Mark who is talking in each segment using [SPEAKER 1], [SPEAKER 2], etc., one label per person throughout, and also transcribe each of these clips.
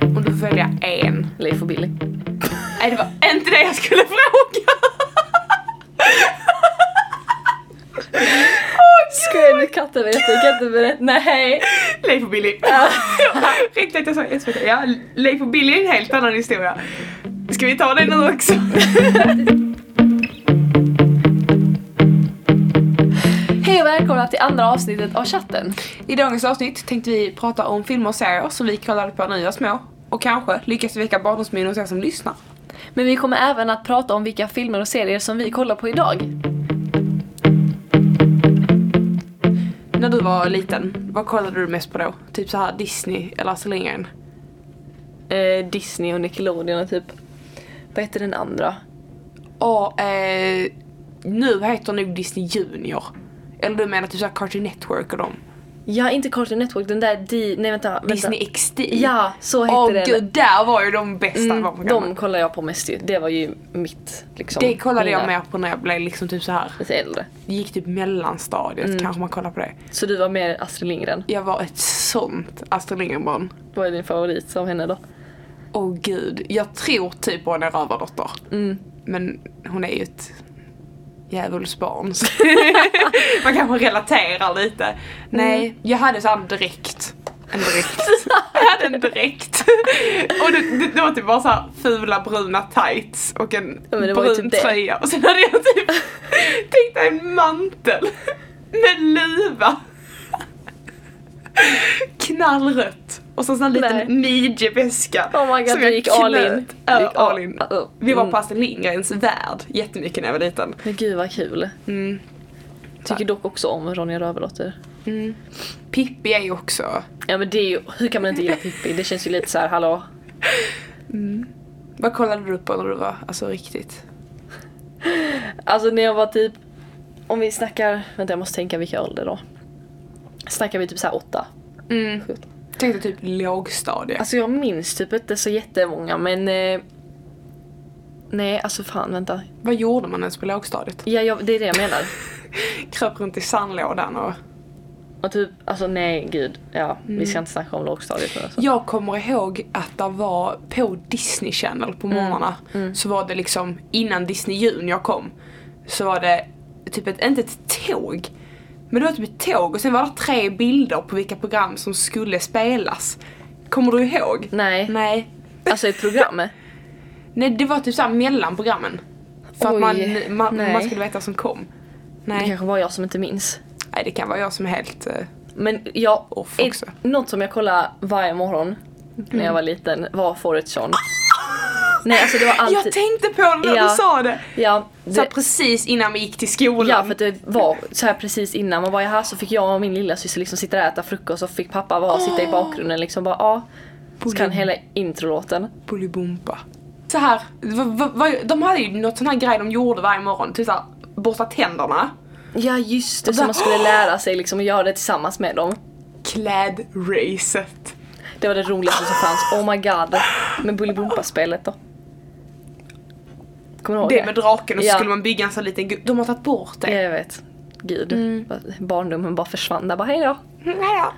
[SPEAKER 1] Om du får välja en.
[SPEAKER 2] Leif och Billy.
[SPEAKER 1] Nej det var inte det jag skulle fråga.
[SPEAKER 2] Skojar ni katten berätta? Jag kan inte berätta. Nej.
[SPEAKER 1] Leif och Billy.
[SPEAKER 2] Ja.
[SPEAKER 1] Riktigt att jag sa SVT. Ja, Leif och Billy är en helt annan historia. Ska vi ta den nu också?
[SPEAKER 2] Hej och välkomna till andra avsnittet av chatten.
[SPEAKER 1] I dagens avsnitt tänkte vi prata om filmer och serier som vi kollade på när vi var små. Och kanske lyckas vi väcka barndomsminnen hos er som lyssnar.
[SPEAKER 2] Men vi kommer även att prata om vilka filmer och serier som vi kollar på idag.
[SPEAKER 1] När du var liten, vad kollade du mest på då? Typ så här Disney eller Astrid Lindgren?
[SPEAKER 2] Eh, Disney och Nickelodeon och typ... Vad heter den andra?
[SPEAKER 1] Och eh, nu heter nog Disney Junior. Eller du menar typ såhär Cartoon Network och dem?
[SPEAKER 2] Ja, inte Cartoon Network, den där D... Nej vänta. vänta.
[SPEAKER 1] Disney XD?
[SPEAKER 2] Ja, så hette
[SPEAKER 1] Åh
[SPEAKER 2] den.
[SPEAKER 1] gud, där var ju de bästa
[SPEAKER 2] Mm, de
[SPEAKER 1] barnprogrammen.
[SPEAKER 2] kollade jag på mest ju. Det var ju mitt liksom.
[SPEAKER 1] Det kollade jag
[SPEAKER 2] mina
[SPEAKER 1] mer på när jag blev liksom typ så här.
[SPEAKER 2] Lite äldre.
[SPEAKER 1] gick typ mellanstadiet
[SPEAKER 2] Mm.
[SPEAKER 1] kanske man kollar på det.
[SPEAKER 2] Så du var mer Astrid Lindgren.
[SPEAKER 1] Jag var ett sånt Astrid Lindgren-barn.
[SPEAKER 2] Vad är din favorit av henne då?
[SPEAKER 1] Åh gud, jag tror typ på hon är rövardotter.
[SPEAKER 2] Mm.
[SPEAKER 1] Men hon är ju ett djävulsbarn. så Man kanske relaterar lite.
[SPEAKER 2] Mm.
[SPEAKER 1] Nej, jag hade så här en dräkt. En dräkt. Jag hade en dräkt. Och det, det, det var typ bara så här fula bruna tights och en
[SPEAKER 2] Ja, men det var ju
[SPEAKER 1] brun
[SPEAKER 2] typ det.
[SPEAKER 1] tröja. Och sen hade jag typ tänkt mig en mantel med luva. Knallrött. Och så sån här
[SPEAKER 2] Nej.
[SPEAKER 1] liten midjeväska.
[SPEAKER 2] Oh my god,
[SPEAKER 1] som
[SPEAKER 2] du
[SPEAKER 1] jag
[SPEAKER 2] gick all
[SPEAKER 1] knöt.
[SPEAKER 2] in.
[SPEAKER 1] Ja,
[SPEAKER 2] Du gick
[SPEAKER 1] all
[SPEAKER 2] all-
[SPEAKER 1] in.
[SPEAKER 2] Ja,
[SPEAKER 1] Vi var
[SPEAKER 2] mm.
[SPEAKER 1] på Astrid Lindgrens värld jättemycket när jag var liten.
[SPEAKER 2] Men gud vad kul.
[SPEAKER 1] Mm.
[SPEAKER 2] Tycker dock också om Ronja Rövardotter.
[SPEAKER 1] Pippi är ju också...
[SPEAKER 2] Ja men det är ju, hur kan man inte gilla Pippi? Det känns ju lite så här, hallå?
[SPEAKER 1] Vad kollade du på när du var alltså riktigt?
[SPEAKER 2] Alltså när jag var typ, om vi snackar, vänta jag måste tänka vilka ålder då. Snackar vi typ så här åtta?
[SPEAKER 1] Mm.
[SPEAKER 2] Sjukt.
[SPEAKER 1] Tänkte typ lågstadiet.
[SPEAKER 2] Alltså jag minns typ inte så jättemånga men... Eh, nej alltså fan vänta.
[SPEAKER 1] Vad gjorde man ens på lågstadiet?
[SPEAKER 2] Ja jag, det är det jag menar.
[SPEAKER 1] Kröp runt i sandlådan och...
[SPEAKER 2] Och typ, alltså nej gud. Ja vi ska inte snacka om lågstadiet nu alltså.
[SPEAKER 1] Jag kommer ihåg att det var på Disney Channel på
[SPEAKER 2] Mm.
[SPEAKER 1] morgnarna så var det liksom innan Disney Junior kom så var det typ ett, inte ett tåg men det var typ ett tåg och sen var det tre bilder på vilka program som skulle spelas. Kommer du ihåg?
[SPEAKER 2] Nej,
[SPEAKER 1] Nej.
[SPEAKER 2] alltså i programmet.
[SPEAKER 1] Nej det var typ såhär mellan programmen. För att man,
[SPEAKER 2] Oj,
[SPEAKER 1] man, man
[SPEAKER 2] nej.
[SPEAKER 1] skulle veta vad som kom.
[SPEAKER 2] Det
[SPEAKER 1] Nej.
[SPEAKER 2] kanske var jag som inte minns.
[SPEAKER 1] nej det kan vara jag som är helt... eh,
[SPEAKER 2] Men jag,
[SPEAKER 1] Off
[SPEAKER 2] ett-
[SPEAKER 1] också.
[SPEAKER 2] något som jag kollade varje morgon när jag
[SPEAKER 1] Mm.
[SPEAKER 2] var liten var Forrest John. nej alltså det var alltid...
[SPEAKER 1] Jag tänkte på det när
[SPEAKER 2] Ja.
[SPEAKER 1] du sa det!
[SPEAKER 2] ja,
[SPEAKER 1] Så här
[SPEAKER 2] det,
[SPEAKER 1] precis innan vi gick till skolan.
[SPEAKER 2] Ja för att det var så här precis innan man var här så fick jag och min lilla syster liksom sitta där och äta frukost och fick pappa vara och sitta
[SPEAKER 1] Ah.
[SPEAKER 2] i bakgrunden liksom bara ja. Så kan hela introlåten.
[SPEAKER 1] Bolibompa. Så här, va, va, va, de hade ju något sån här grej de gjorde varje morgon, typ såhär borsta tänderna,
[SPEAKER 2] Ja just det, så man skulle lära sig liksom att göra det tillsammans med dem.
[SPEAKER 1] klädracet.
[SPEAKER 2] Det var det roligaste som fanns, oh my god. Men Bolibompa-spelet då? Kommer du ihåg det?
[SPEAKER 1] Det med draken och så
[SPEAKER 2] Ja.
[SPEAKER 1] skulle man bygga en sån liten gu- De har tagit bort
[SPEAKER 2] Ja,
[SPEAKER 1] det.
[SPEAKER 2] jag vet. Gud, vad- barndomen bara försvann där bara hejdå.
[SPEAKER 1] Mm, Ja.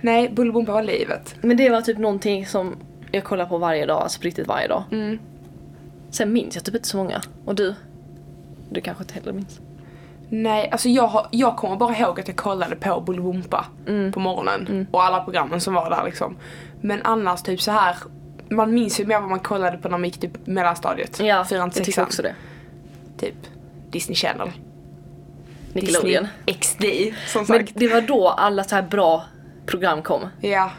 [SPEAKER 1] Nej, Bolibompa var livet.
[SPEAKER 2] Men det var typ någonting som jag kollade på varje dag, alltså på riktigt varje dag.
[SPEAKER 1] Mm.
[SPEAKER 2] Sen minns jag typ inte så många. Och du? Du kanske inte heller minns?
[SPEAKER 1] Nej, alltså jag, har, jag kommer bara ihåg att jag kollade på Bolibompa
[SPEAKER 2] Mm.
[SPEAKER 1] på morgonen och alla programmen som var där liksom. Men annars typ så här man minns ju mer vad man kollade på när man gick typ mellanstadiet.
[SPEAKER 2] Ja,
[SPEAKER 1] Fyran,
[SPEAKER 2] jag tycker
[SPEAKER 1] sexan,
[SPEAKER 2] också det.
[SPEAKER 1] Typ Disney Channel.
[SPEAKER 2] Nickelodeon.
[SPEAKER 1] Disney XD som
[SPEAKER 2] Men
[SPEAKER 1] sagt.
[SPEAKER 2] det var då alla så här bra program kom.
[SPEAKER 1] Ja.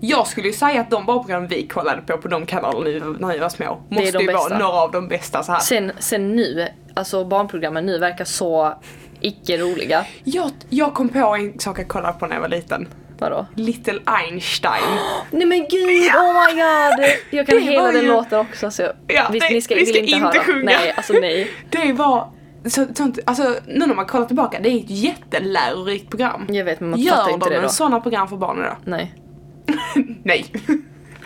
[SPEAKER 1] Jag skulle ju säga att de barprogram vi kollade på på de kanalerna vi- när vi var små
[SPEAKER 2] är
[SPEAKER 1] måste
[SPEAKER 2] de
[SPEAKER 1] ju vara
[SPEAKER 2] bästa.
[SPEAKER 1] några av de bästa så här.
[SPEAKER 2] Sen, sen nu, alltså barnprogrammen nu verkar så icke roliga.
[SPEAKER 1] Jag, jag kom på en sak jag kollade på när jag var liten.
[SPEAKER 2] Vadå?
[SPEAKER 1] Little Einstein.
[SPEAKER 2] Nej men gud, oh my god! Jag kan
[SPEAKER 1] Det
[SPEAKER 2] hela
[SPEAKER 1] var
[SPEAKER 2] den
[SPEAKER 1] ju-
[SPEAKER 2] låten också så jag,
[SPEAKER 1] Ja,
[SPEAKER 2] vi,
[SPEAKER 1] det-
[SPEAKER 2] ni ska,
[SPEAKER 1] vi ska
[SPEAKER 2] vill inte,
[SPEAKER 1] inte
[SPEAKER 2] höra.
[SPEAKER 1] sjunga.
[SPEAKER 2] Nej, alltså nej.
[SPEAKER 1] Det var så, sånt, alltså nu när man kollar tillbaka, det är ett jättelärorikt program.
[SPEAKER 2] Jag vet men man
[SPEAKER 1] Gör
[SPEAKER 2] fattar
[SPEAKER 1] de
[SPEAKER 2] inte det då.
[SPEAKER 1] sådana program för barn idag?
[SPEAKER 2] Nej.
[SPEAKER 1] Nej.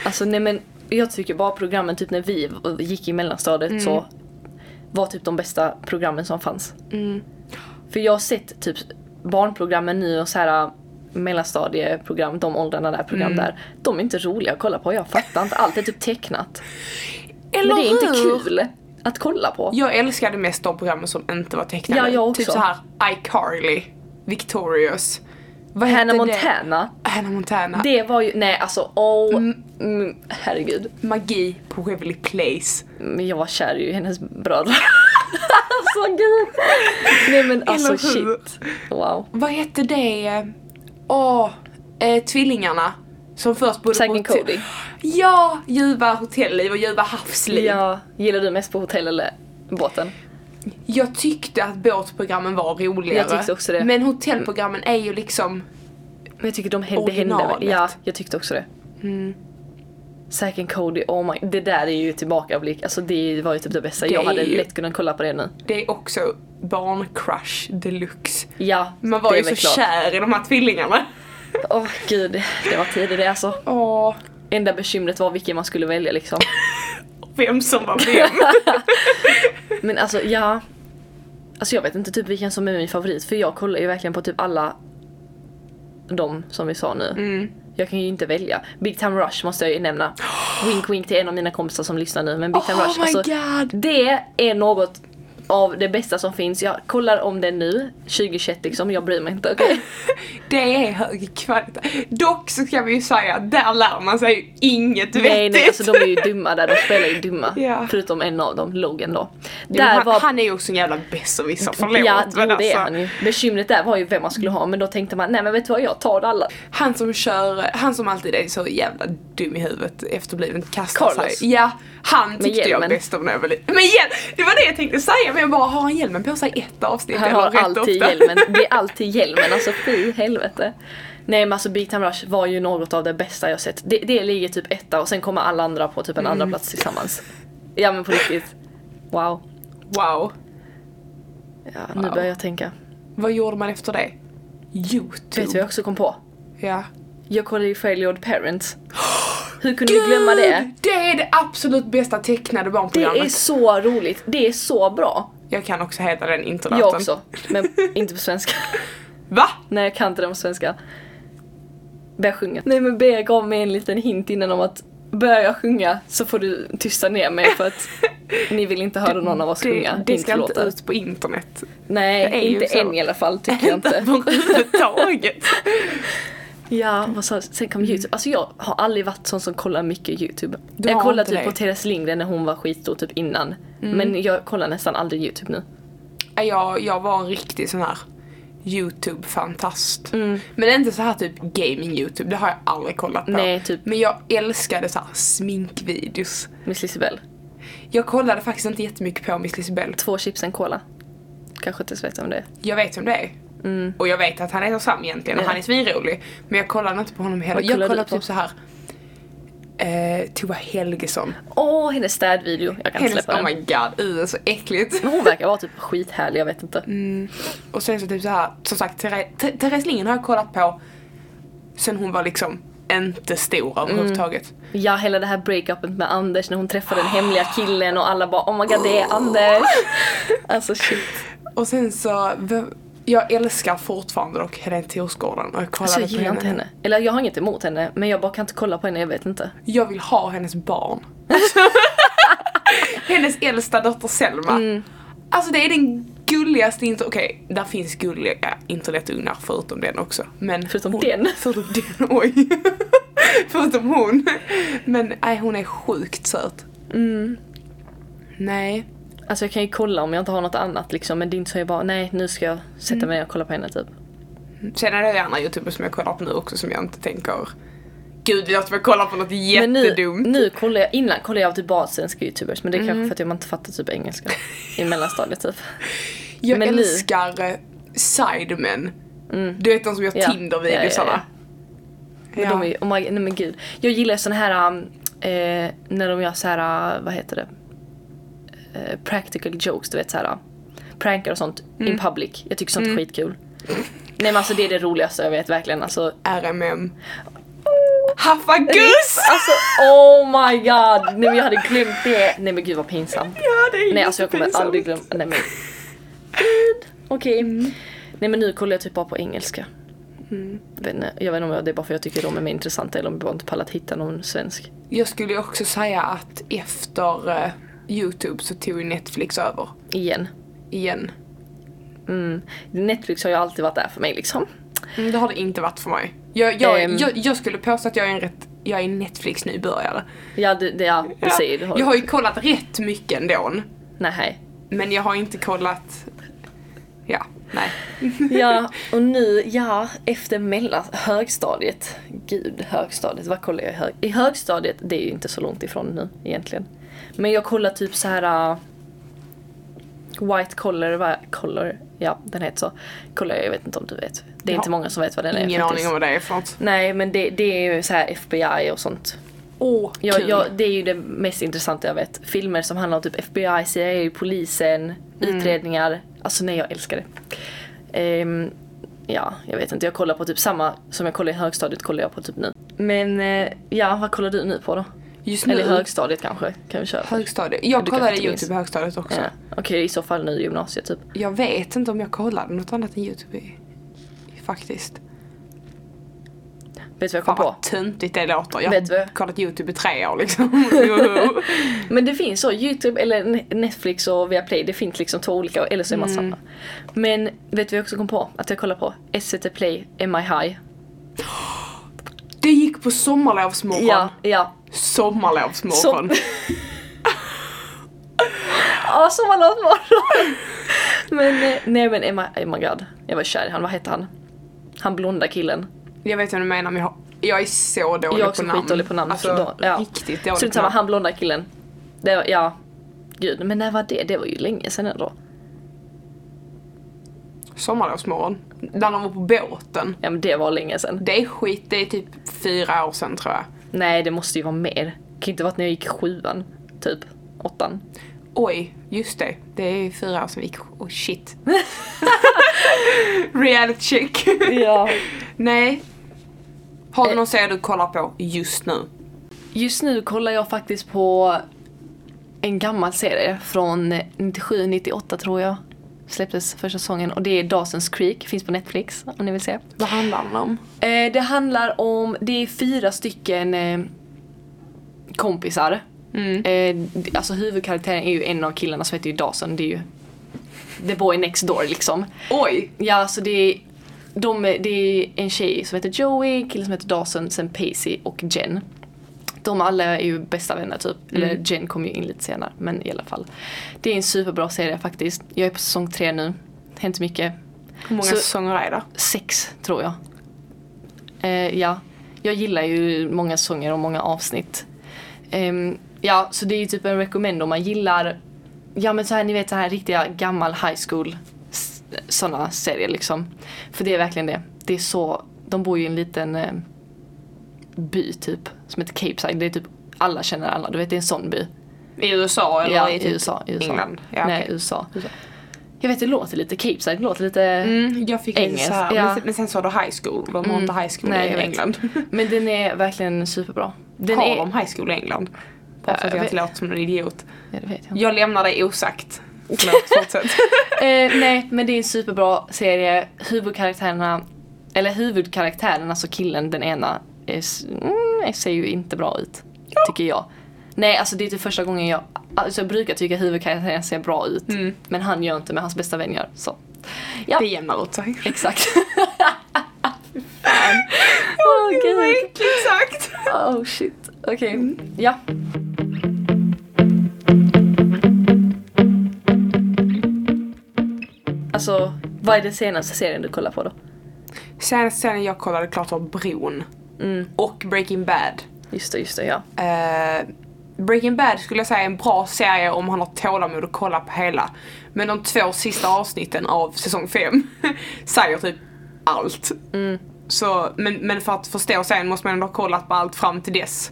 [SPEAKER 2] Alltså nej men jag tycker bara programmen typ när vi v- gick i mellanstadiet
[SPEAKER 1] Mm.
[SPEAKER 2] så var typ de bästa
[SPEAKER 1] Mm.
[SPEAKER 2] programmen som fanns. För jag har sett typ barnprogrammen nu och så här mellanstadieprogram, de åldrarna där, program
[SPEAKER 1] Mm.
[SPEAKER 2] där. De är inte roliga att kolla på, jag fattar inte. Allt är typ tecknat.
[SPEAKER 1] Eller
[SPEAKER 2] Men det är inte
[SPEAKER 1] hur?
[SPEAKER 2] kul att kolla på.
[SPEAKER 1] Jag älskade mest de programmen som inte var tecknade.
[SPEAKER 2] Ja, jag också.
[SPEAKER 1] Typ så här iCarly, Victorious. Vad hette
[SPEAKER 2] Hannah
[SPEAKER 1] det?
[SPEAKER 2] Montana,
[SPEAKER 1] Hannah Montana.
[SPEAKER 2] det var ju, nej alltså oh, mm, herregud.
[SPEAKER 1] Magi på Waverly Place.
[SPEAKER 2] Men jag var kär i hennes bröder. alltså gud. Nej men alltså
[SPEAKER 1] Eller hur?
[SPEAKER 2] shit. Wow.
[SPEAKER 1] Vad hette det? Åh, eh, tvillingarna. Som först bodde
[SPEAKER 2] Zack
[SPEAKER 1] på
[SPEAKER 2] and
[SPEAKER 1] hotell-
[SPEAKER 2] Cody.
[SPEAKER 1] Ja, ljuva hotellliv och ljuva havsliv.
[SPEAKER 2] Ja, gillar du mest på hotell eller båten?
[SPEAKER 1] Jag tyckte att båtprogrammen var roligare.
[SPEAKER 2] Jag tyckte också det. Mm.
[SPEAKER 1] Men hotellprogrammen är ju liksom...
[SPEAKER 2] Men jag tycker de hände, det hände
[SPEAKER 1] Originalet.
[SPEAKER 2] väl- Ja, jag tyckte också det.
[SPEAKER 1] Mm.
[SPEAKER 2] Zack and Cody, oh my, det där är ju tillbakablick. Alltså det var ju typ det bästa.
[SPEAKER 1] Det
[SPEAKER 2] jag
[SPEAKER 1] är
[SPEAKER 2] hade
[SPEAKER 1] ju-
[SPEAKER 2] lätt kunnat kolla på det nu.
[SPEAKER 1] Det är också barncrush deluxe.
[SPEAKER 2] Ja,
[SPEAKER 1] Man var
[SPEAKER 2] det
[SPEAKER 1] ju
[SPEAKER 2] är
[SPEAKER 1] så
[SPEAKER 2] väl klart.
[SPEAKER 1] kär i de här tvillingarna.
[SPEAKER 2] Åh gud, det var tider det alltså.
[SPEAKER 1] Åh,
[SPEAKER 2] Enda bekymret var vilken man skulle välja liksom.
[SPEAKER 1] vem som var vem.
[SPEAKER 2] Men alltså ja. Alltså jag vet inte typ vilken som är min favorit för jag kollar ju verkligen på typ alla de som vi sa nu.
[SPEAKER 1] Mm.
[SPEAKER 2] Jag kan ju inte välja. Big Time Rush måste jag ju nämna. Wink wink till en av mina kompisar som lyssnar nu men Big Time
[SPEAKER 1] Oh
[SPEAKER 2] Rush
[SPEAKER 1] my
[SPEAKER 2] alltså,
[SPEAKER 1] god.
[SPEAKER 2] det är något av det bästa som finns. Jag kollar om det nu, 2021 liksom, jag bryr mig inte okej?
[SPEAKER 1] Det är hög kvalitet. Dock så kan vi ju säga att där lär man sig ju inget
[SPEAKER 2] Nej
[SPEAKER 1] vettigt.
[SPEAKER 2] nej alltså de är ju dumma där, de spelar ju dumma.
[SPEAKER 1] Ja.
[SPEAKER 2] Förutom en av dem, Logan då.
[SPEAKER 1] Jo,
[SPEAKER 2] Där
[SPEAKER 1] han,
[SPEAKER 2] var
[SPEAKER 1] han är ju också en jävla besserwisser, förlåt.
[SPEAKER 2] Ja, jo,
[SPEAKER 1] men
[SPEAKER 2] det
[SPEAKER 1] alltså,
[SPEAKER 2] är han ju. Bekymret där var ju vem man skulle ha men då tänkte man nej men vet du vad jag tar alla.
[SPEAKER 1] han som kör, han som alltid är så jävla dum i huvudet efterbliven kastar
[SPEAKER 2] Carlos.
[SPEAKER 1] sig. Ja, han tyckte jag
[SPEAKER 2] hjälmen.
[SPEAKER 1] bäst om när jag var liten. Men igen, det var det jag tänkte säga men jag bara, har han hjälmen på sig i ett avsnitt
[SPEAKER 2] Han
[SPEAKER 1] eller
[SPEAKER 2] har
[SPEAKER 1] rätt
[SPEAKER 2] alltid
[SPEAKER 1] ofta?
[SPEAKER 2] hjälmen, det är alltid hjälmen alltså fy helvete. Nej men alltså Big Time Rush var ju något av det bästa jag sett. Det, det ligger typ etta och sen kommer alla andra på typ en
[SPEAKER 1] Mm.
[SPEAKER 2] andra plats tillsammans. Ja men på riktigt. Wow.
[SPEAKER 1] Wow.
[SPEAKER 2] Ja, Nu börjar jag tänka.
[SPEAKER 1] Vad gjorde man efter det? Youtube.
[SPEAKER 2] Vet du vad jag också kom på?
[SPEAKER 1] Ja.
[SPEAKER 2] Jag kollade ju Fairly Odd Parents. Hur kunde vi glömma det?
[SPEAKER 1] Det är det absolut bästa tecknade
[SPEAKER 2] Det är
[SPEAKER 1] barnprogrammet.
[SPEAKER 2] så roligt, det är så bra.
[SPEAKER 1] Jag kan också heta den internaten.
[SPEAKER 2] Jag också, men inte på svenska.
[SPEAKER 1] Va?
[SPEAKER 2] Nej jag kan inte den på svenska. Börja sjunga. Nej men Bea gav mig en liten hint innan om att börjar jag sjunga så får du tysta ner mig för att ni vill inte höra någon av oss sjunga
[SPEAKER 1] Det, det ska inte
[SPEAKER 2] introlåtar.
[SPEAKER 1] ut på internet. det är
[SPEAKER 2] Nej,
[SPEAKER 1] ju
[SPEAKER 2] inte
[SPEAKER 1] så.
[SPEAKER 2] än i alla fall tycker jag inte.
[SPEAKER 1] Överhuvudtaget.
[SPEAKER 2] Ja, vad sa, sen kom youtube. Alltså jag har aldrig varit sån som kollar mycket youtube.
[SPEAKER 1] Du
[SPEAKER 2] jag
[SPEAKER 1] har
[SPEAKER 2] kollade
[SPEAKER 1] inte
[SPEAKER 2] typ
[SPEAKER 1] det. Mm.
[SPEAKER 2] på Therese Lindgren när hon var skitstor typ innan. Men jag kollar nästan aldrig youtube nu.
[SPEAKER 1] Nej, jag, jag var en riktig sån här Youtube-fantast.
[SPEAKER 2] Mm.
[SPEAKER 1] Men inte så här typ gaming-Youtube, det har jag aldrig kollat på.
[SPEAKER 2] Nej, typ.
[SPEAKER 1] Men jag älskade så här sminkvideos.
[SPEAKER 2] Miss Lisebell.
[SPEAKER 1] Jag kollade faktiskt inte jättemycket på Miss Lisbell.
[SPEAKER 2] Två chips en cola. Kanske inte ens vet om det är.
[SPEAKER 1] Jag vet vem det är. Och jag vet att han heter Sam egentligen och
[SPEAKER 2] Mm. Ja.
[SPEAKER 1] han är svinrolig. Men jag kollade inte på honom heller.
[SPEAKER 2] Vad
[SPEAKER 1] Jag
[SPEAKER 2] kollade du
[SPEAKER 1] kollade
[SPEAKER 2] på?
[SPEAKER 1] typ så här. Eh, Tova Helgesson.
[SPEAKER 2] Åh, hennes städvideo. Jag kan inte
[SPEAKER 1] Hennes,
[SPEAKER 2] släppa
[SPEAKER 1] oh
[SPEAKER 2] den.
[SPEAKER 1] my god, uh, så äckligt.
[SPEAKER 2] Men hon verkar vara typ skithärlig, jag vet inte.
[SPEAKER 1] Mm. Och sen så typ så här, som sagt Therese, Th- Therese Lindgren har jag kollat på sen hon var liksom inte stor överhuvudtaget.
[SPEAKER 2] Ja, hela det här breakupet med Anders när hon träffar den hemliga killen och alla bara oh my god det är Anders. Alltså shit.
[SPEAKER 1] Och sen så, v- jag älskar fortfarande dock Helene Torsgården och jag kollade
[SPEAKER 2] Alltså jag
[SPEAKER 1] på
[SPEAKER 2] gillar
[SPEAKER 1] henne.
[SPEAKER 2] inte henne. Eller jag har inget emot henne men jag bara kan inte kolla på henne, jag vet inte.
[SPEAKER 1] Jag vill ha hennes barn. hennes äldsta dotter Selma.
[SPEAKER 2] Mm.
[SPEAKER 1] Alltså det är den gulligaste inte okej, där finns gulliga internetungar förutom den också. Men
[SPEAKER 2] Förutom
[SPEAKER 1] hon,
[SPEAKER 2] den.
[SPEAKER 1] Förutom den, oj. förutom hon. Men nej, hon är sjukt söt.
[SPEAKER 2] Mm.
[SPEAKER 1] Nej.
[SPEAKER 2] Alltså jag kan ju kolla om jag inte har något annat liksom men det är inte så jag bara nej nu ska jag
[SPEAKER 1] Mm.
[SPEAKER 2] sätta mig och kolla på henne typ.
[SPEAKER 1] Sen är det ju andra youtubers som jag kollar på nu också som jag inte tänker Gud, jag ska kolla på något
[SPEAKER 2] Men nu,
[SPEAKER 1] jättedumt. Mm.
[SPEAKER 2] nu kollar jag, innan kollade jag typ bara svenska youtubers men det är kanske för att jag inte fattar typ engelska i mellanstadiet typ.
[SPEAKER 1] Jag
[SPEAKER 2] Men nu-
[SPEAKER 1] älskar eh, sidemen. Du vet de som gör
[SPEAKER 2] Ja.
[SPEAKER 1] Tinder-videosarna.
[SPEAKER 2] Ja, Men de är ju, oh my, nej men gud. Jag gillar såna här, um, eh, när de gör så här, uh, vad heter det? Eh, practical jokes, du vet så här. uh, Prankar och sånt in public. Jag tycker sånt är skitkul. Nej men alltså det är det roligaste jag vet verkligen. Alltså,
[SPEAKER 1] RMM. Haffagus!
[SPEAKER 2] alltså oh my god! Nej men jag hade glömt det. Nej men gud vad pinsamt.
[SPEAKER 1] Ja, det är
[SPEAKER 2] Nej alltså jag kommer
[SPEAKER 1] jättepinsamt.
[SPEAKER 2] aldrig glömma, Mm. nej men. Gud, Okej. Nej men nu kollar jag typ bara på engelska. Jag vet inte- Jag vet inte om det är bara för att jag tycker de är mer intressanta eller om jag bara inte pallat hitta någon svensk.
[SPEAKER 1] Jag skulle ju också säga att efter eh, Youtube så tog ju Netflix över
[SPEAKER 2] Igen.
[SPEAKER 1] igen.
[SPEAKER 2] Mm. Netflix har ju alltid varit där för mig liksom.
[SPEAKER 1] Mm, det har det inte varit för mig. Jag, jag,
[SPEAKER 2] Ehm.
[SPEAKER 1] jag, jag skulle påstå att jag är en rätt jag är en Netflix-nybörjare.
[SPEAKER 2] Ja, det, det, ja precis.
[SPEAKER 1] jag har ju kollat rätt mycket ändå.
[SPEAKER 2] Nej.
[SPEAKER 1] Men jag har inte kollat... Ja, nej.
[SPEAKER 2] Ja, och nu, ja, efter mellan, högstadiet. Gud, högstadiet, vad kollar jag i hög... I högstadiet, det är ju inte så långt ifrån nu egentligen. Men jag kollar typ så här. äh, White collar, va? collar, ja den heter så. Kollar jag, jag vet inte om du vet. Det är
[SPEAKER 1] Jag
[SPEAKER 2] inte
[SPEAKER 1] har
[SPEAKER 2] många som vet vad den är
[SPEAKER 1] Ingen
[SPEAKER 2] faktiskt.
[SPEAKER 1] aning om vad det är för något.
[SPEAKER 2] Nej men det, det är ju så här FBI och sånt.
[SPEAKER 1] Åh,
[SPEAKER 2] Jag,
[SPEAKER 1] kul.
[SPEAKER 2] jag, det är ju det mest intressanta jag vet. Filmer som handlar om typ FBI, CIA, polisen,
[SPEAKER 1] Mm.
[SPEAKER 2] utredningar. Alltså nej jag älskar det. Ehm, ja, jag vet inte. Jag kollar på typ samma som jag kollar i högstadiet kollar jag på typ nu. Men eh, ja, vad kollar du nu på då?
[SPEAKER 1] Just
[SPEAKER 2] Eller
[SPEAKER 1] nu,
[SPEAKER 2] högstadiet kanske? Kan vi köra?
[SPEAKER 1] högstadiet. Jag
[SPEAKER 2] Du
[SPEAKER 1] kollade
[SPEAKER 2] kanske inte
[SPEAKER 1] Youtube i högstadiet också.
[SPEAKER 2] Ja. Okej, i så fall nu i gymnasiet typ.
[SPEAKER 1] Jag vet inte om jag kollade något annat än Youtube i- faktiskt.
[SPEAKER 2] Vet du vad jag
[SPEAKER 1] Fan
[SPEAKER 2] kom på?
[SPEAKER 1] vad töntigt det låter. Jag
[SPEAKER 2] Vet
[SPEAKER 1] har
[SPEAKER 2] du?
[SPEAKER 1] kollat Youtube i tre år liksom. Joho.
[SPEAKER 2] Men det finns så, Youtube eller Ne- Netflix och Viaplay, det finns liksom två olika eller så är man
[SPEAKER 1] Mm.
[SPEAKER 2] samma. Men vet du vad jag också kom på? Att jag kollar på SVT Play, Am I High?
[SPEAKER 1] det gick på sommarlovsmorgon.
[SPEAKER 2] Ja, ja.
[SPEAKER 1] Sommarlovsmorgon.
[SPEAKER 2] Ja, sommarlovsmorgon! men eh, nej men Am I, oh my god. Jag var kär i han, vad hette han? Han blonda killen.
[SPEAKER 1] Jag vet vad du menar men jag, har- jag är så dålig
[SPEAKER 2] Jag är
[SPEAKER 1] på
[SPEAKER 2] också
[SPEAKER 1] namn.
[SPEAKER 2] skitdålig på namn.
[SPEAKER 1] Alltså,
[SPEAKER 2] så då, ja.
[SPEAKER 1] riktigt
[SPEAKER 2] Strunt
[SPEAKER 1] dålig på
[SPEAKER 2] samma,
[SPEAKER 1] namn.
[SPEAKER 2] han blonda killen. Det var, ja. Gud, men när var det? Det var ju länge sedan ändå.
[SPEAKER 1] Sommarlovsmorgon. När de var på båten.
[SPEAKER 2] Ja men det var länge sedan.
[SPEAKER 1] Det är skit, det är typ fyra år sedan tror jag.
[SPEAKER 2] Nej, det måste ju vara mer. Det kan ju inte vara att när jag gick i sjuan, typ. Åttan.
[SPEAKER 1] Oj, just det. Det är fyra år sedan vi gick. Oh shit. Reality check.
[SPEAKER 2] Ja.
[SPEAKER 1] Nej. Har du
[SPEAKER 2] Eh.
[SPEAKER 1] någon serie du kollar på just nu?
[SPEAKER 2] Just nu kollar jag faktiskt på en gammal serie från 97, 98 tror jag. Släpptes första säsongen och det är Dawson's Creek, finns på Netflix om ni vill se.
[SPEAKER 1] Vad handlar den om?
[SPEAKER 2] Eh, det handlar om, det är fyra stycken eh, kompisar. Eh, d- alltså huvudkaraktären är ju en av killarna som heter ju Dawson, det är ju the boy next door liksom.
[SPEAKER 1] Oj!
[SPEAKER 2] Ja, så det är, de, det är en tjej som heter Joey, en kille som heter Dawson, sen Pacey och Jen. De alla är ju bästa vänner typ. Eller Jen kom ju in lite senare, men i alla fall. Det är en superbra serie faktiskt. Jag är på säsong tre nu. Hänt mycket.
[SPEAKER 1] Hur många
[SPEAKER 2] Så-
[SPEAKER 1] säsonger är det?
[SPEAKER 2] Sex, tror jag. Eh, ja. Jag gillar ju många säsonger och många avsnitt. Ehm, ja, så det är ju typ en recommend om man gillar, ja men så här, ni vet så här riktiga gammal high school s- såna serier liksom. För det är verkligen det. Det är så, de bor ju i en liten eh, by typ, som heter Cape Side. Det är typ alla känner alla, du vet det är en sån by.
[SPEAKER 1] I USA eller
[SPEAKER 2] Ja,
[SPEAKER 1] i
[SPEAKER 2] i
[SPEAKER 1] typ
[SPEAKER 2] USA. i USA.
[SPEAKER 1] England? Ja,
[SPEAKER 2] Nej,
[SPEAKER 1] okej.
[SPEAKER 2] USA. Jag vet det låter lite Cape Side, det låter lite...
[SPEAKER 1] Mm, jag fick Engels,
[SPEAKER 2] Engelskt,
[SPEAKER 1] så här,
[SPEAKER 2] ja. Mm.
[SPEAKER 1] men, sen, men sen sa du high school, de har inte high school
[SPEAKER 2] nej,
[SPEAKER 1] i
[SPEAKER 2] jag vet.
[SPEAKER 1] England.
[SPEAKER 2] Men den är verkligen superbra. Den
[SPEAKER 1] har
[SPEAKER 2] är...
[SPEAKER 1] de high school i England? Bara för att
[SPEAKER 2] jag
[SPEAKER 1] jag inte låter som en idiot.
[SPEAKER 2] Ja, det vet jag.
[SPEAKER 1] Jag lämnar dig osagt. Förlåt, fortsätt.
[SPEAKER 2] Eh, nej, men det är en superbra serie. Huvudkaraktärerna, eller huvudkaraktären, alltså killen, den ena, är, s- mm, ser ju inte bra ut. Tycker jag. Nej, alltså det är inte första gången jag... Alltså jag brukar tycka huvudkaraktären ser bra ut. Men han gör inte, men hans bästa vän gör. Så. Ja,
[SPEAKER 1] Det jämnar ut sig.
[SPEAKER 2] exakt. Åh gud.
[SPEAKER 1] Äckligt sagt!
[SPEAKER 2] Oh shit. Okej. Ja. Alltså, vad är den senaste serien du kollar på då?
[SPEAKER 1] Sen, sen jag kollade klart av Bron
[SPEAKER 2] Mm.
[SPEAKER 1] och Breaking Bad.
[SPEAKER 2] Just det, just det, ja.
[SPEAKER 1] Eh, Breaking Bad skulle jag säga är en bra serie om man har tålamod att kolla på hela. Men de två sista avsnitten av säsong 5 säger typ allt.
[SPEAKER 2] Mm.
[SPEAKER 1] Så, men, men för att förstå serien måste man ändå ha kollat på allt fram till dess.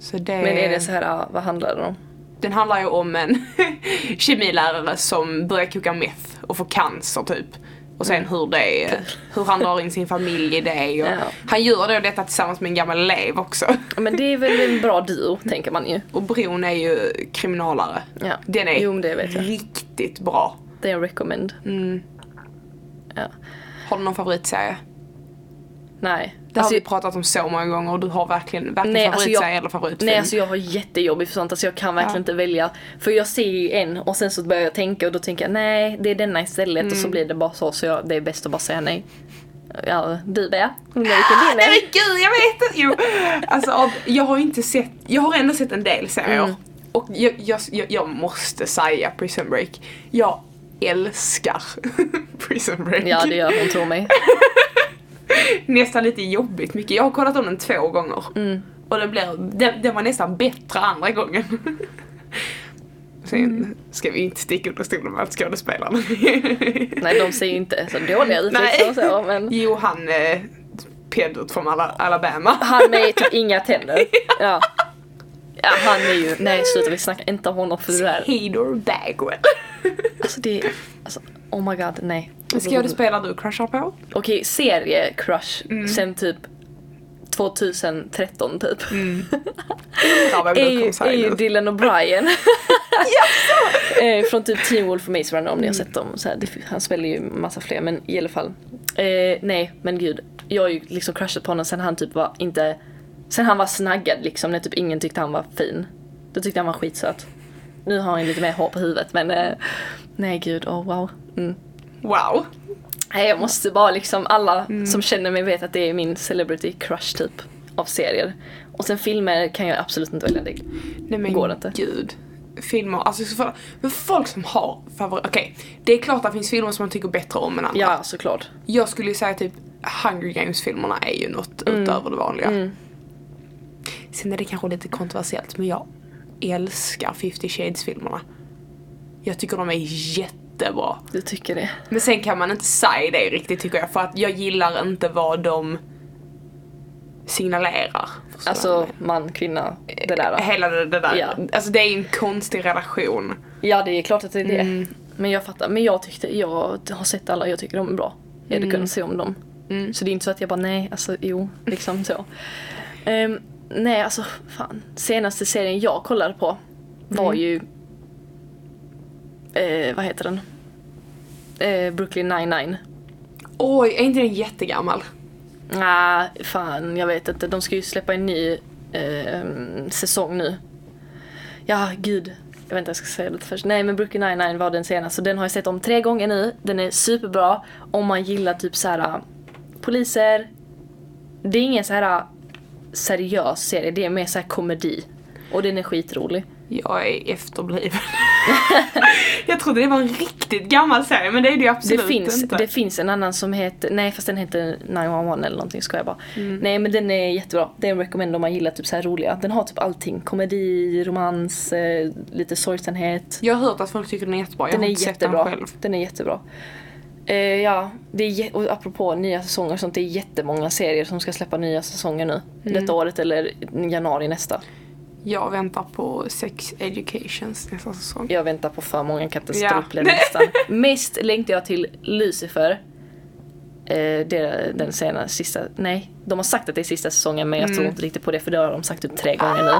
[SPEAKER 1] Så det,
[SPEAKER 2] Men är det så här, ah, vad handlar den om?
[SPEAKER 1] Den handlar ju om en kemilärare som börjar koka meth och får cancer typ. Och sen
[SPEAKER 2] Mm.
[SPEAKER 1] hur det är, hur han drar in sin familj i det. Och
[SPEAKER 2] Ja.
[SPEAKER 1] Han gör då detta tillsammans med en gammal elev också.
[SPEAKER 2] Men det är väl en bra duo, tänker man ju.
[SPEAKER 1] Och Bron är ju kriminalare.
[SPEAKER 2] Ja.
[SPEAKER 1] Den är
[SPEAKER 2] Jo, men det vet jag.
[SPEAKER 1] riktigt bra.
[SPEAKER 2] Mm. Det är en recommend. Ja.
[SPEAKER 1] Har du någon favoritserie?
[SPEAKER 2] Nej.
[SPEAKER 1] Det
[SPEAKER 2] Alltså,
[SPEAKER 1] har vi pratat om så många gånger och du har verkligen, verkligen
[SPEAKER 2] Nej, alltså
[SPEAKER 1] favoritserie
[SPEAKER 2] jag-
[SPEAKER 1] eller favoritfilm.
[SPEAKER 2] Nej alltså jag har jättejobbigt för sånt, alltså jag kan verkligen
[SPEAKER 1] Typ Ja.
[SPEAKER 2] inte välja. För jag ser ju en och sen så börjar jag tänka och då tänker jag nej det är denna istället och så
[SPEAKER 1] Mm.
[SPEAKER 2] blir det bara så så jag, det är bäst att bara säga nej. Ja, du det? Undrar vilken det
[SPEAKER 1] Nej
[SPEAKER 2] är?
[SPEAKER 1] men gud, jag vet inte! Jo, alltså av, jag har inte sett, jag har ändå sett en del serier.
[SPEAKER 2] Mm.
[SPEAKER 1] Och jag, jag, jag, jag måste säga Prison Break. Jag älskar Prison Break.
[SPEAKER 2] Ja det gör hon tror mig.
[SPEAKER 1] Nästan lite jobbigt mycket. Jag har kollat om den två gånger.
[SPEAKER 2] Mm.
[SPEAKER 1] Och den, blir, den, den var nästan bättre andra gången. Sen
[SPEAKER 2] Mm.
[SPEAKER 1] ska vi inte sticka under stolen med att skådespelarna.
[SPEAKER 2] Nej de ser ju inte så dåliga ut
[SPEAKER 1] Nej.
[SPEAKER 2] liksom och så men
[SPEAKER 1] Jo, han eh, peddot från Ala- Alabama.
[SPEAKER 2] han med typ inga tänder. Ja. ja han är ju, nej sluta vi snackar inte om honom för det där.
[SPEAKER 1] Hader Bagwell.
[SPEAKER 2] Alltså det, alltså oh my god nej.
[SPEAKER 1] Skådespelare du crushar på?
[SPEAKER 2] Okej, serie-crush sen typ 2013 typ.
[SPEAKER 1] Ja, vem
[SPEAKER 2] är
[SPEAKER 1] du
[SPEAKER 2] ju,
[SPEAKER 1] kom
[SPEAKER 2] är
[SPEAKER 1] säga
[SPEAKER 2] ju
[SPEAKER 1] nu.
[SPEAKER 2] Dylan O'Brien. Eh, Från typ Teen Wolf och Maze Runner om ni har sett dem. Så här, det, han spelar ju massa fler men i alla fall. Eh, nej men gud. Jag har ju liksom crushat på honom sen han typ var inte... Sen han var snaggad liksom när typ ingen tyckte han var fin. Då tyckte han var skitsöt. Nu har han lite mer hår på huvudet men eh, nej gud, oh wow. Mm.
[SPEAKER 1] Wow.
[SPEAKER 2] Nej jag måste bara liksom, alla som känner mig vet att det är min celebrity crush typ av serier. Och sen filmer kan jag absolut inte välja. Det
[SPEAKER 1] Nej men
[SPEAKER 2] Går det inte?
[SPEAKER 1] gud. Filmer, alltså så för, men folk som har favorit, okej. det är klart att det finns filmer som man tycker bättre om än andra.
[SPEAKER 2] Ja, såklart.
[SPEAKER 1] Jag skulle ju säga typ Hunger Games-filmerna är ju något utöver det vanliga. Sen är det kanske lite kontroversiellt men jag älskar 50 Shades-filmerna. Jag tycker de är jättebra.
[SPEAKER 2] Du tycker det?
[SPEAKER 1] Men sen kan man inte säga det riktigt tycker jag för att jag gillar inte vad de signalerar. Förstår
[SPEAKER 2] Alltså man, kvinna, det där.
[SPEAKER 1] du?
[SPEAKER 2] va?
[SPEAKER 1] Hela det, det där.
[SPEAKER 2] Ja.
[SPEAKER 1] Alltså det är en konstig relation.
[SPEAKER 2] Ja, det är klart att det är det. Mm. Men jag fattar. Men jag tyckte, jag har sett alla, jag tycker de är bra. Jag hade kunnat se om dem. Så det är inte så att jag bara nej, alltså jo, liksom så. Ehm, nej, alltså fan. Senaste serien jag kollade på var ju... Eh, vad heter den? Eh, Brooklyn 99.
[SPEAKER 1] Oj, är inte den jättegammal?
[SPEAKER 2] Nej, fan jag vet inte. De ska ju släppa en ny eh, säsong nu. Ja, gud. Jag vet inte, jag ska säga det först. Nej men Brooklyn 99 var den senaste. Så Den har jag sett om tre gånger nu. Den är superbra. Om man gillar typ så här poliser. Det är ingen så här eh, seriös serie. Det är mer så här komedi. Och den är skitrolig.
[SPEAKER 1] Jag är efterbliven. jag trodde det var en riktigt gammal serie men det är det ju
[SPEAKER 2] Det
[SPEAKER 1] absolut
[SPEAKER 2] finns,
[SPEAKER 1] inte.
[SPEAKER 2] det finns en annan som heter, nej fast den heter 911 eller någonting ska jag bara.
[SPEAKER 1] Mm.
[SPEAKER 2] Nej men den är jättebra, det är en recommend om man gillar typ så här roliga. Den har typ allting, komedi, romans, eh, lite sorgsenhet.
[SPEAKER 1] Jag har hört att folk tycker den är jättebra, jag
[SPEAKER 2] Den
[SPEAKER 1] har
[SPEAKER 2] är
[SPEAKER 1] inte sett den
[SPEAKER 2] jättebra.
[SPEAKER 1] själv.
[SPEAKER 2] Den är jättebra. Eh, ja, det är jä- och apropå nya säsonger och sånt, det är jättemånga serier som ska släppa nya säsonger nu.
[SPEAKER 1] Mm.
[SPEAKER 2] Detta året eller januari nästa.
[SPEAKER 1] Jag väntar på Sex Educations nästa säsong.
[SPEAKER 2] Jag väntar på för många
[SPEAKER 1] Ja.
[SPEAKER 2] katastrofer nästan. Mest längtar jag till Lucifer. Eh, det är den sena, sista, nej. De har sagt att det är sista säsongen men jag
[SPEAKER 1] Mm.
[SPEAKER 2] tror inte riktigt på det för det har de sagt typ tre
[SPEAKER 1] Ah.
[SPEAKER 2] gånger nu.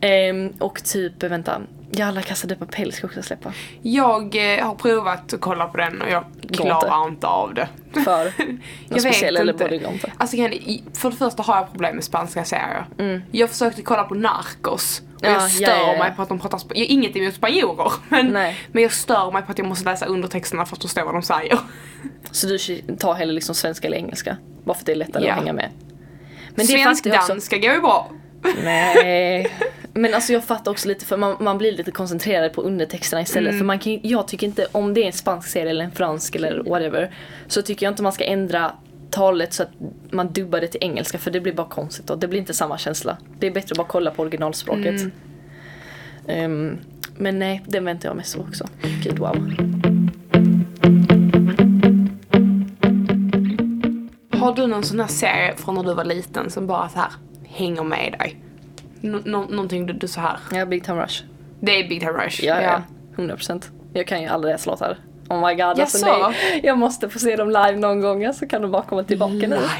[SPEAKER 2] Ehm, och typ, vänta. Jalla Casa de Papel ska också släppa.
[SPEAKER 1] Jag eh, har provat att kolla på den och jag klarar inte av det.
[SPEAKER 2] För någon
[SPEAKER 1] Jag vet
[SPEAKER 2] speciell eller
[SPEAKER 1] inte.
[SPEAKER 2] både gång för.
[SPEAKER 1] Alltså Jenny, i- för det första har jag problem med spanska serier. Jag försökte kolla på Narcos och
[SPEAKER 2] Mm. Ja, ja,
[SPEAKER 1] jag stör
[SPEAKER 2] ja, ja.
[SPEAKER 1] mig på att de pratar sp- jag, har Inget emot spanjorer men,
[SPEAKER 2] Nej.
[SPEAKER 1] men jag stör mig på att jag måste läsa undertexterna för att förstå vad de säger.
[SPEAKER 2] Så du tar hellre liksom svenska eller engelska? Bara för att det är lättare
[SPEAKER 1] Ja.
[SPEAKER 2] att hänga med.
[SPEAKER 1] Men
[SPEAKER 2] Men det fanns det också.
[SPEAKER 1] Svensk-danska går ju bra.
[SPEAKER 2] Nej. Men alltså jag fattar också lite för man, man blir lite koncentrerad på undertexterna istället. För man kan, ju- jag tycker inte, om det är en spansk serie eller en fransk eller whatever. Så tycker jag inte man ska ändra talet så att man dubbar det till engelska för det blir bara konstigt och det blir inte samma känsla. Det är bättre att bara kolla på originalspråket. Ehm, men nej, den väntar jag mest på också. Gud wow.
[SPEAKER 1] Har du någon sån här serie från när du var liten som bara så här hänger med dig? Nå- nå- någonting du, du så här.
[SPEAKER 2] Ja, Big Time Rush.
[SPEAKER 1] Det är Big Time Rush.
[SPEAKER 2] Ja, ja. 100%. Jag kan ju alla deras låtar. Oh my god, alltså
[SPEAKER 1] Jaså?
[SPEAKER 2] nej. Jag måste få se dem live någon gång, så alltså, kan de bara komma tillbaka nu.
[SPEAKER 1] Live.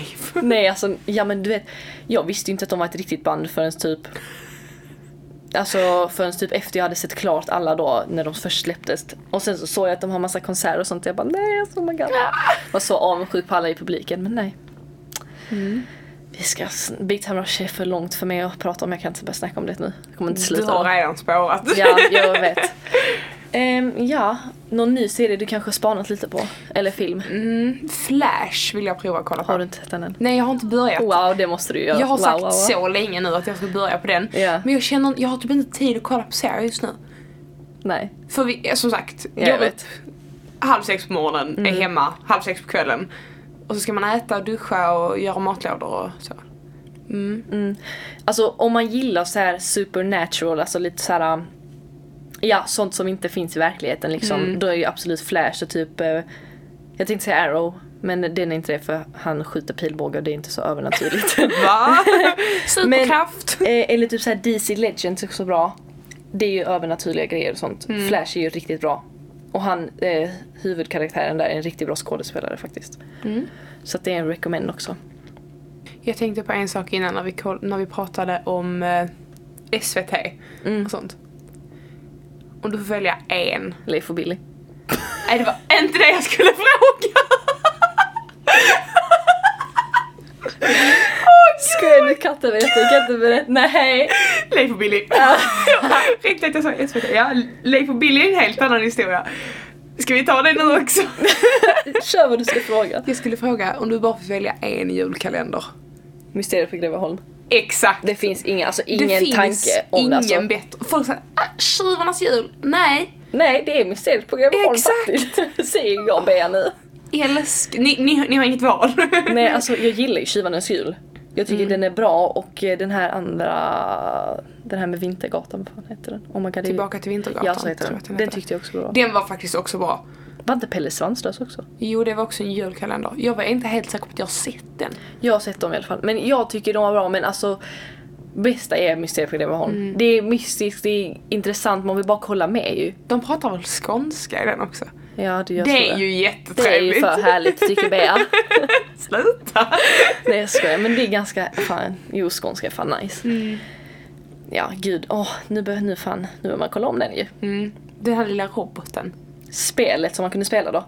[SPEAKER 2] Nej alltså, ja men du vet. Jag visste ju inte att de var ett riktigt band förrän typ Alltså förrän typ efter jag hade sett klart alla då när de först släpptes. Och sen så såg jag att de har massa konserter och sånt jag bara nej alltså oh my god. Var så avundsjuk på alla i publiken men nej. Vi ska, s- Big Time Rush är för långt för mig att prata om, jag kan inte börja snacka om det nu. Jag kommer inte
[SPEAKER 1] Du
[SPEAKER 2] sluta.
[SPEAKER 1] har
[SPEAKER 2] då.
[SPEAKER 1] redan spårat.
[SPEAKER 2] Ja, jag vet. Ehm, ja, någon ny serie du kanske har spanat lite på? Eller film?
[SPEAKER 1] Mm, Flash vill jag prova att kolla på.
[SPEAKER 2] Har du inte sett den än?
[SPEAKER 1] Nej, jag har inte börjat.
[SPEAKER 2] Wow, det måste du göra.
[SPEAKER 1] Jag har
[SPEAKER 2] wow,
[SPEAKER 1] sagt
[SPEAKER 2] wow, wow.
[SPEAKER 1] så länge nu att jag ska börja på den.
[SPEAKER 2] Ja.
[SPEAKER 1] Men jag känner jag har typ inte tid att kolla på serier just nu.
[SPEAKER 2] Nej,
[SPEAKER 1] För vi, eh, som sagt,
[SPEAKER 2] jag,
[SPEAKER 1] går
[SPEAKER 2] vet. Mm.
[SPEAKER 1] upp halv sex på morgonen, är hemma halv sex på kvällen. Och så ska man äta, duscha och göra matlådor och så.
[SPEAKER 2] Mm. Alltså om man gillar så här supernatural, alltså lite så här. um, Ja, sånt som inte finns i verkligheten liksom. Då är ju absolut Flash och typ eh, Jag tänkte säga Arrow, men den är inte det för han skjuter pilbågar och det är inte så övernaturligt.
[SPEAKER 1] Va? Superkraft!
[SPEAKER 2] Eh, eller typ så här DC Legends är också bra. Det är ju övernaturliga grejer och sånt. Flash är ju riktigt bra. Och han, eh, huvudkaraktären där, är en riktigt bra skådespelare faktiskt. Så att det är en recommend också.
[SPEAKER 1] Jag tänkte på en sak innan när vi, koll- när vi pratade om eh, SVT
[SPEAKER 2] Mm.
[SPEAKER 1] och sånt. Om du får välja en.
[SPEAKER 2] Leif och Billy.
[SPEAKER 1] Nej det var inte det jag skulle fråga!
[SPEAKER 2] Skojar du? Katten vet du, kan inte berätta. Nej!
[SPEAKER 1] Leif och Billy. Riktigt att jag sa SVT. Ja, Leif och Billy är en helt annan historia. Ska vi ta det nu också?
[SPEAKER 2] Kör vad du ska fråga.
[SPEAKER 1] Jag skulle fråga om du bara får välja en julkalender.
[SPEAKER 2] Mysteriet på Greveholm.
[SPEAKER 1] Exakt.
[SPEAKER 2] Det finns inga, alltså ingen tanke om
[SPEAKER 1] ingen
[SPEAKER 2] det alltså.
[SPEAKER 1] bättre. Folk säger ah, tjuvarnas jul. Nej.
[SPEAKER 2] Nej, det är Mysteriet på Greveholm
[SPEAKER 1] Exakt.
[SPEAKER 2] faktiskt. Säger jag Bea nu.
[SPEAKER 1] Älsk. Ni, ni, ni har inget val.
[SPEAKER 2] Nej, alltså jag gillar ju Tjuvarnas jul. Jag tycker den är bra och eh, den här andra, den här med Vintergatan, vad fan heter den? Oh my god, det är ju-
[SPEAKER 1] Tillbaka till Vintergatan.
[SPEAKER 2] Ja, så heter
[SPEAKER 1] tror
[SPEAKER 2] den.
[SPEAKER 1] jag att
[SPEAKER 2] Den,
[SPEAKER 1] heter.
[SPEAKER 2] tyckte jag också var bra.
[SPEAKER 1] Den var faktiskt också bra.
[SPEAKER 2] Var inte Pelle Svanslös också?
[SPEAKER 1] Jo, det var också en julkalender. Jag var inte helt säker på att jag har sett den.
[SPEAKER 2] Jag har sett dem i alla fall. Men jag tycker de var bra men alltså Bästa är Mysteriet på Greveholm.
[SPEAKER 1] Mm.
[SPEAKER 2] Det är mystiskt, det är intressant, man vill bara kolla med ju.
[SPEAKER 1] De pratar väl skånska i den också?
[SPEAKER 2] Ja, det, gör så
[SPEAKER 1] det är ju jättetrevligt.
[SPEAKER 2] Det är ju för härligt tycker Bea.
[SPEAKER 1] Sluta!
[SPEAKER 2] Nej jag skojar men det är ganska, fan, jo skånska är fan nice. Ja gud, åh nu behöver, nu fan, nu behöver man kolla om den ju.
[SPEAKER 1] Mm. Den här lilla roboten.
[SPEAKER 2] Spelet som man kunde spela då.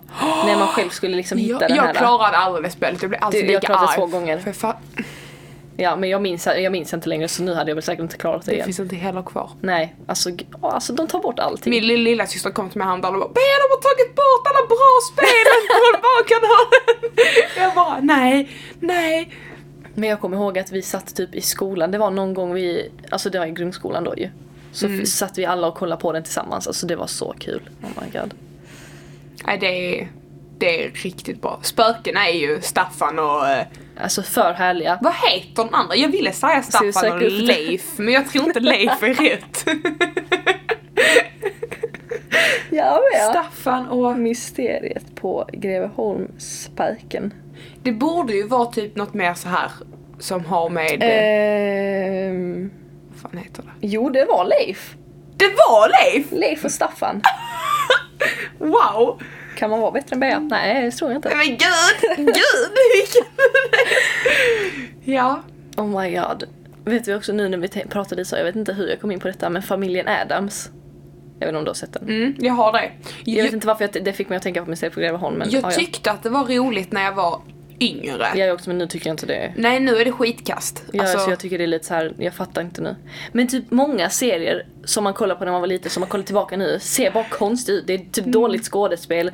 [SPEAKER 2] När man själv skulle liksom hitta
[SPEAKER 1] jag
[SPEAKER 2] den här.
[SPEAKER 1] jag klarade aldrig det spelet, jag blev alltid
[SPEAKER 2] Du, jag
[SPEAKER 1] lika
[SPEAKER 2] klarade det
[SPEAKER 1] arg.
[SPEAKER 2] två gånger.
[SPEAKER 1] För fa-
[SPEAKER 2] Ja men jag minns, jag minns inte längre så nu hade jag väl säkert inte klarat det,
[SPEAKER 1] det
[SPEAKER 2] igen.
[SPEAKER 1] finns inte heller kvar.
[SPEAKER 2] Nej, alltså, g- åh, alltså de tar bort allting.
[SPEAKER 1] Min lilla, lilla syster kom till mig häromdagen och bara Bea de har tagit bort alla bra spel från barkanalen! Jag bara nej, nej.
[SPEAKER 2] Men jag kommer ihåg att vi satt typ i skolan, det var någon gång vi, alltså det var i grundskolan då ju. Så f- satt vi alla och kollade på den tillsammans, alltså det var så kul. Oh my god.
[SPEAKER 1] Nej det är, det är riktigt bra. Spöken är ju Staffan och... eh,
[SPEAKER 2] Alltså för härliga.
[SPEAKER 1] Vad heter den andra? Jag ville säga
[SPEAKER 2] vi
[SPEAKER 1] Staffan
[SPEAKER 2] söka
[SPEAKER 1] och
[SPEAKER 2] upp det?
[SPEAKER 1] Leif men jag tror inte Leif är rätt.
[SPEAKER 2] Ja,
[SPEAKER 1] Staffan och...
[SPEAKER 2] Mysteriet på Greveholmsparken.
[SPEAKER 1] Det borde ju vara typ något mer så här som har med...
[SPEAKER 2] Eh.
[SPEAKER 1] eh,
[SPEAKER 2] Ehm,
[SPEAKER 1] Vad fan heter det?
[SPEAKER 2] jo, det var Leif.
[SPEAKER 1] Det var Leif!
[SPEAKER 2] Leif och Staffan.
[SPEAKER 1] Wow!
[SPEAKER 2] Kan man vara bättre än Bea? Mm. Nej, det tror jag inte.
[SPEAKER 1] Men gud! Gud! vilken- ja.
[SPEAKER 2] Oh my god. Vet vi också nu när vi te- pratade så, jag vet inte hur jag kom in på detta, men familjen Adams. Jag vet inte om du har sett den?
[SPEAKER 1] Mm, jag har det.
[SPEAKER 2] Jag
[SPEAKER 1] Jag,
[SPEAKER 2] vet inte varför jag, det fick mig att tänka på museet på Greveholm men
[SPEAKER 1] jag
[SPEAKER 2] ja, ja.
[SPEAKER 1] tyckte att det var roligt när jag var yngre.
[SPEAKER 2] Ja, Jag också men nu tycker jag inte det.
[SPEAKER 1] Nej, nu är det skitkast.
[SPEAKER 2] Ja,
[SPEAKER 1] Alltså,
[SPEAKER 2] så jag tycker det är lite så här, jag fattar inte nu. Men typ många serier som man kollar på när man var liten, som man kollar tillbaka nu, ser bara konstigt ut. Det är typ dåligt skådespel.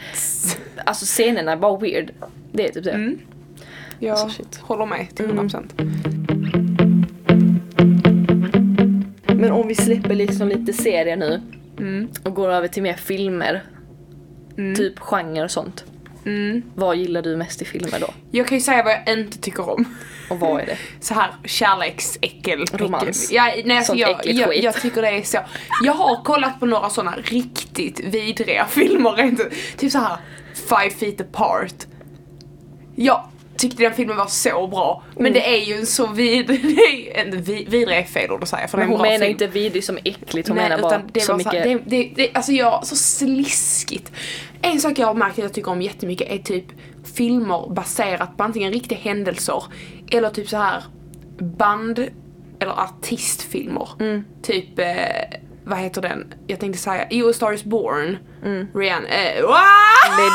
[SPEAKER 2] Alltså scenerna är bara weird. Det är typ det.
[SPEAKER 1] Mm. jag
[SPEAKER 2] alltså, shit.
[SPEAKER 1] håller med till 100%.
[SPEAKER 2] Men om vi släpper liksom lite serier nu
[SPEAKER 1] Mm.
[SPEAKER 2] och går över till mer filmer. Typ genre och sånt.
[SPEAKER 1] Mm.
[SPEAKER 2] Vad gillar du mest i filmer då?
[SPEAKER 1] Jag kan ju säga vad jag inte tycker om.
[SPEAKER 2] Och vad är det?
[SPEAKER 1] Så här kärleksäckel.
[SPEAKER 2] Romans.
[SPEAKER 1] Ja, nej, alltså,
[SPEAKER 2] Sånt
[SPEAKER 1] jag,
[SPEAKER 2] äckligt
[SPEAKER 1] jag,
[SPEAKER 2] skit.
[SPEAKER 1] jag tycker det är så. Jag har kollat på några sådana riktigt vidriga filmer. rent ut. Typ så här Five feet apart. Jag tyckte den filmen var så bra.
[SPEAKER 2] Mm.
[SPEAKER 1] Men det är ju en så vid... Det är ju en vid, vidrig är fel ord att säga för det är
[SPEAKER 2] Men
[SPEAKER 1] en
[SPEAKER 2] hon
[SPEAKER 1] bra
[SPEAKER 2] menar
[SPEAKER 1] film.
[SPEAKER 2] inte vidrig som äckligt, hon
[SPEAKER 1] Nej,
[SPEAKER 2] menar bara
[SPEAKER 1] utan det
[SPEAKER 2] så
[SPEAKER 1] var
[SPEAKER 2] mycket...
[SPEAKER 1] Så här, det, det, det, alltså jag, så sliskigt. En sak jag har märkt att jag tycker om jättemycket är typ filmer baserat på antingen riktiga händelser eller typ
[SPEAKER 2] Mm.
[SPEAKER 1] så här band eller artistfilmer. Typ eh, vad heter den? Jag tänkte säga, EO Star is Born,
[SPEAKER 2] Mm.
[SPEAKER 1] Rihanna, eh, wow!
[SPEAKER 2] Lady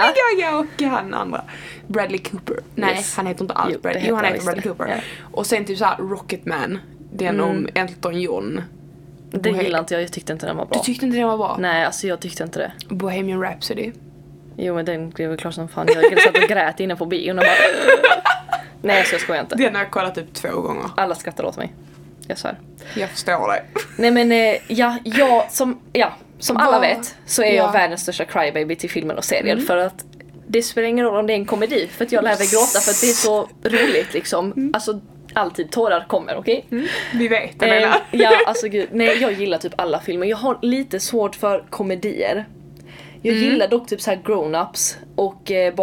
[SPEAKER 1] Lady Gaga och han andra. Bradley Cooper. Nej,
[SPEAKER 2] Yes.
[SPEAKER 1] han heter inte
[SPEAKER 2] Jo,
[SPEAKER 1] alls
[SPEAKER 2] det
[SPEAKER 1] Bradley.
[SPEAKER 2] heter
[SPEAKER 1] Jo, han heter
[SPEAKER 2] han visst
[SPEAKER 1] Bradley
[SPEAKER 2] det.
[SPEAKER 1] Cooper.
[SPEAKER 2] Ja. Mm.
[SPEAKER 1] Och sen typ såhär Rocketman, den om Elton John.
[SPEAKER 2] Den gillar inte jag, jag tyckte inte den var
[SPEAKER 1] Du
[SPEAKER 2] bra.
[SPEAKER 1] tyckte inte den var bra?
[SPEAKER 2] Nej, alltså jag tyckte inte det.
[SPEAKER 1] Bohemian Rhapsody.
[SPEAKER 2] Jo men den blev väl klar som fan. Jag satt och grät inne på bion och bara... Nej så jag skojar inte.
[SPEAKER 1] Den har jag kollat upp två gånger.
[SPEAKER 2] Alla skrattar åt mig. Jag svär.
[SPEAKER 1] Jag förstår det.
[SPEAKER 2] Nej men eh, ja, jag som, ja, som alla
[SPEAKER 1] Vad-
[SPEAKER 2] vet så är
[SPEAKER 1] ja. Mm.
[SPEAKER 2] jag världens största crybaby till filmer och serier för att det spelar ingen roll om det är en komedi för att jag lär mig gråta för att det är så roligt liksom.
[SPEAKER 1] Mm.
[SPEAKER 2] Alltså alltid tårar kommer, okej?
[SPEAKER 1] Vi vet, Mm. jag
[SPEAKER 2] Eh,
[SPEAKER 1] menar.
[SPEAKER 2] ja, alltså gud. Nej, jag gillar typ alla filmer. Jag har lite svårt för komedier. Jag
[SPEAKER 1] Mm.
[SPEAKER 2] gillar dock typ så här grown-ups och eh,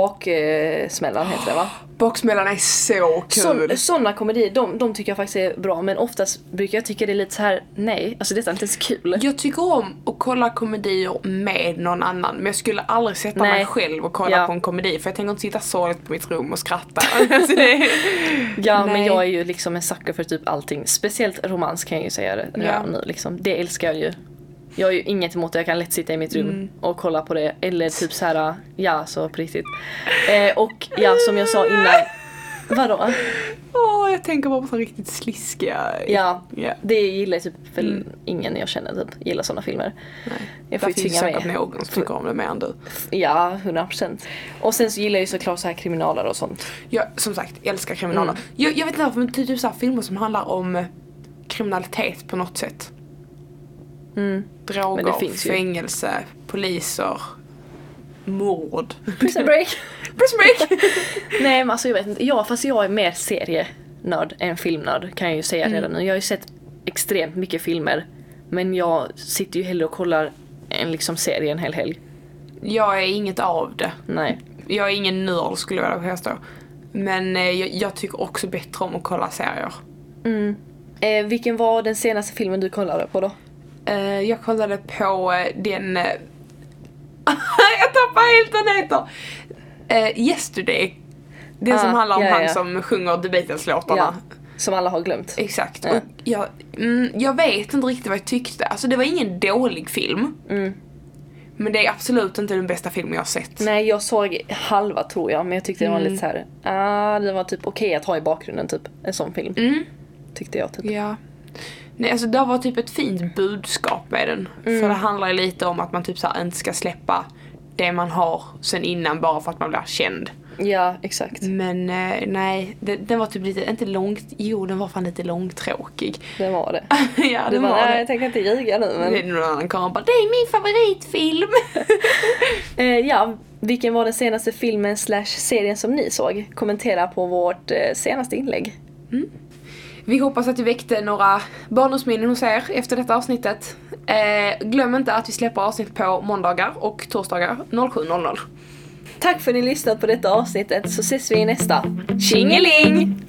[SPEAKER 2] baksmällan heter det va?
[SPEAKER 1] Baksmällan är så kul.
[SPEAKER 2] Sådana komedier, de, de tycker jag faktiskt är bra men oftast brukar jag tycka det är lite så här: nej, alltså detta är inte ens kul.
[SPEAKER 1] Jag tycker om att kolla komedier med någon annan men jag skulle aldrig sätta mig
[SPEAKER 2] Nej.
[SPEAKER 1] själv och kolla
[SPEAKER 2] Ja.
[SPEAKER 1] på en komedi för jag tänker inte sitta sorgligt på mitt rum och skratta. Alltså, det-
[SPEAKER 2] Ja men
[SPEAKER 1] Nej.
[SPEAKER 2] jag är ju liksom en sucker för typ allting, speciellt romans kan jag ju säga det
[SPEAKER 1] Ja.
[SPEAKER 2] redan nu liksom. Det älskar jag ju. Jag har ju inget emot det, jag kan lätt sitta i mitt rum
[SPEAKER 1] Mm.
[SPEAKER 2] och kolla på det. Eller typ så här, ja så på riktigt. Eh, och ja som jag sa innan, vadå?
[SPEAKER 1] Åh, jag tänker bara på så riktigt sliskiga...
[SPEAKER 2] Ja,
[SPEAKER 1] Ja.
[SPEAKER 2] det gillar typ väl ingen jag känner typ, gillar sådana filmer. Jag
[SPEAKER 1] Mm. Där
[SPEAKER 2] får ju
[SPEAKER 1] finns
[SPEAKER 2] tvinga
[SPEAKER 1] säkert
[SPEAKER 2] mig.
[SPEAKER 1] någon som tycker om det mer än du.
[SPEAKER 2] Ja, 100%. Och sen så gillar jag ju såklart så här kriminaler och sånt.
[SPEAKER 1] Jag, som sagt, älskar kriminaler.
[SPEAKER 2] Mm.
[SPEAKER 1] Jag, jag vet inte varför men typ, typ så här filmer som handlar om eh, kriminalitet på något sätt.
[SPEAKER 2] Mm. Men
[SPEAKER 1] Droger,
[SPEAKER 2] det finns ju.
[SPEAKER 1] fängelse, poliser, mord.
[SPEAKER 2] Prison break!
[SPEAKER 1] Prison break!
[SPEAKER 2] Nej men alltså jag vet inte, ja fast jag är mer serienörd än filmnörd kan jag ju säga redan nu. Jag har ju sett extremt mycket filmer men jag sitter ju hellre och kollar en liksom serie en hel helg.
[SPEAKER 1] jag är inget av det.
[SPEAKER 2] Nej.
[SPEAKER 1] Jag är ingen nörd skulle jag vilja påstå. Men eh, jag, jag tycker också bättre om att kolla serier.
[SPEAKER 2] Mm. Eh, vilken var den senaste filmen du kollade på då?
[SPEAKER 1] Eh, jag kollade på eh, den... eh, jag tappar helt vad den heter! Eh, yesterday. Den
[SPEAKER 2] Ah,
[SPEAKER 1] som handlar om
[SPEAKER 2] ja,
[SPEAKER 1] han
[SPEAKER 2] ja.
[SPEAKER 1] som sjunger The Beatles-låtarna.
[SPEAKER 2] Som alla har glömt.
[SPEAKER 1] Exakt.
[SPEAKER 2] Ja.
[SPEAKER 1] Och jag, mm, jag vet inte riktigt vad jag tyckte. Alltså det var ingen dålig film.
[SPEAKER 2] Mm.
[SPEAKER 1] Men det är absolut inte den bästa filmen jag har sett.
[SPEAKER 2] Nej jag såg halva tror jag men jag tyckte det var lite så här. ah det var typ okej att ha i bakgrunden typ. En sån film.
[SPEAKER 1] Mm.
[SPEAKER 2] Tyckte jag typ.
[SPEAKER 1] Ja. Nej, alltså det var typ ett fint budskap med den.
[SPEAKER 2] Mm.
[SPEAKER 1] För det handlar ju lite om att man typ så här inte ska släppa det man har sen innan bara för att man blir känd.
[SPEAKER 2] Ja exakt.
[SPEAKER 1] Men eh, nej, det, den var typ lite, inte långt, jo den var fan lite långtråkig.
[SPEAKER 2] Det var det.
[SPEAKER 1] ja
[SPEAKER 2] Du
[SPEAKER 1] den
[SPEAKER 2] bara,
[SPEAKER 1] var
[SPEAKER 2] nej
[SPEAKER 1] det.
[SPEAKER 2] jag tänker inte ljuga nu men.
[SPEAKER 1] Det är någon annan kamera bara, det är min favoritfilm!
[SPEAKER 2] Eh, ja, vilken var den senaste filmen slash serien som ni såg? Kommentera på vårt eh, senaste inlägg.
[SPEAKER 1] Vi hoppas att vi väckte några barndomsminnen hos er efter detta avsnittet. Eh, glöm inte att vi släpper avsnitt på måndagar och torsdagar 07.00.
[SPEAKER 2] Tack för att ni lyssnat på detta avsnittet så ses vi i nästa. Tjingeling!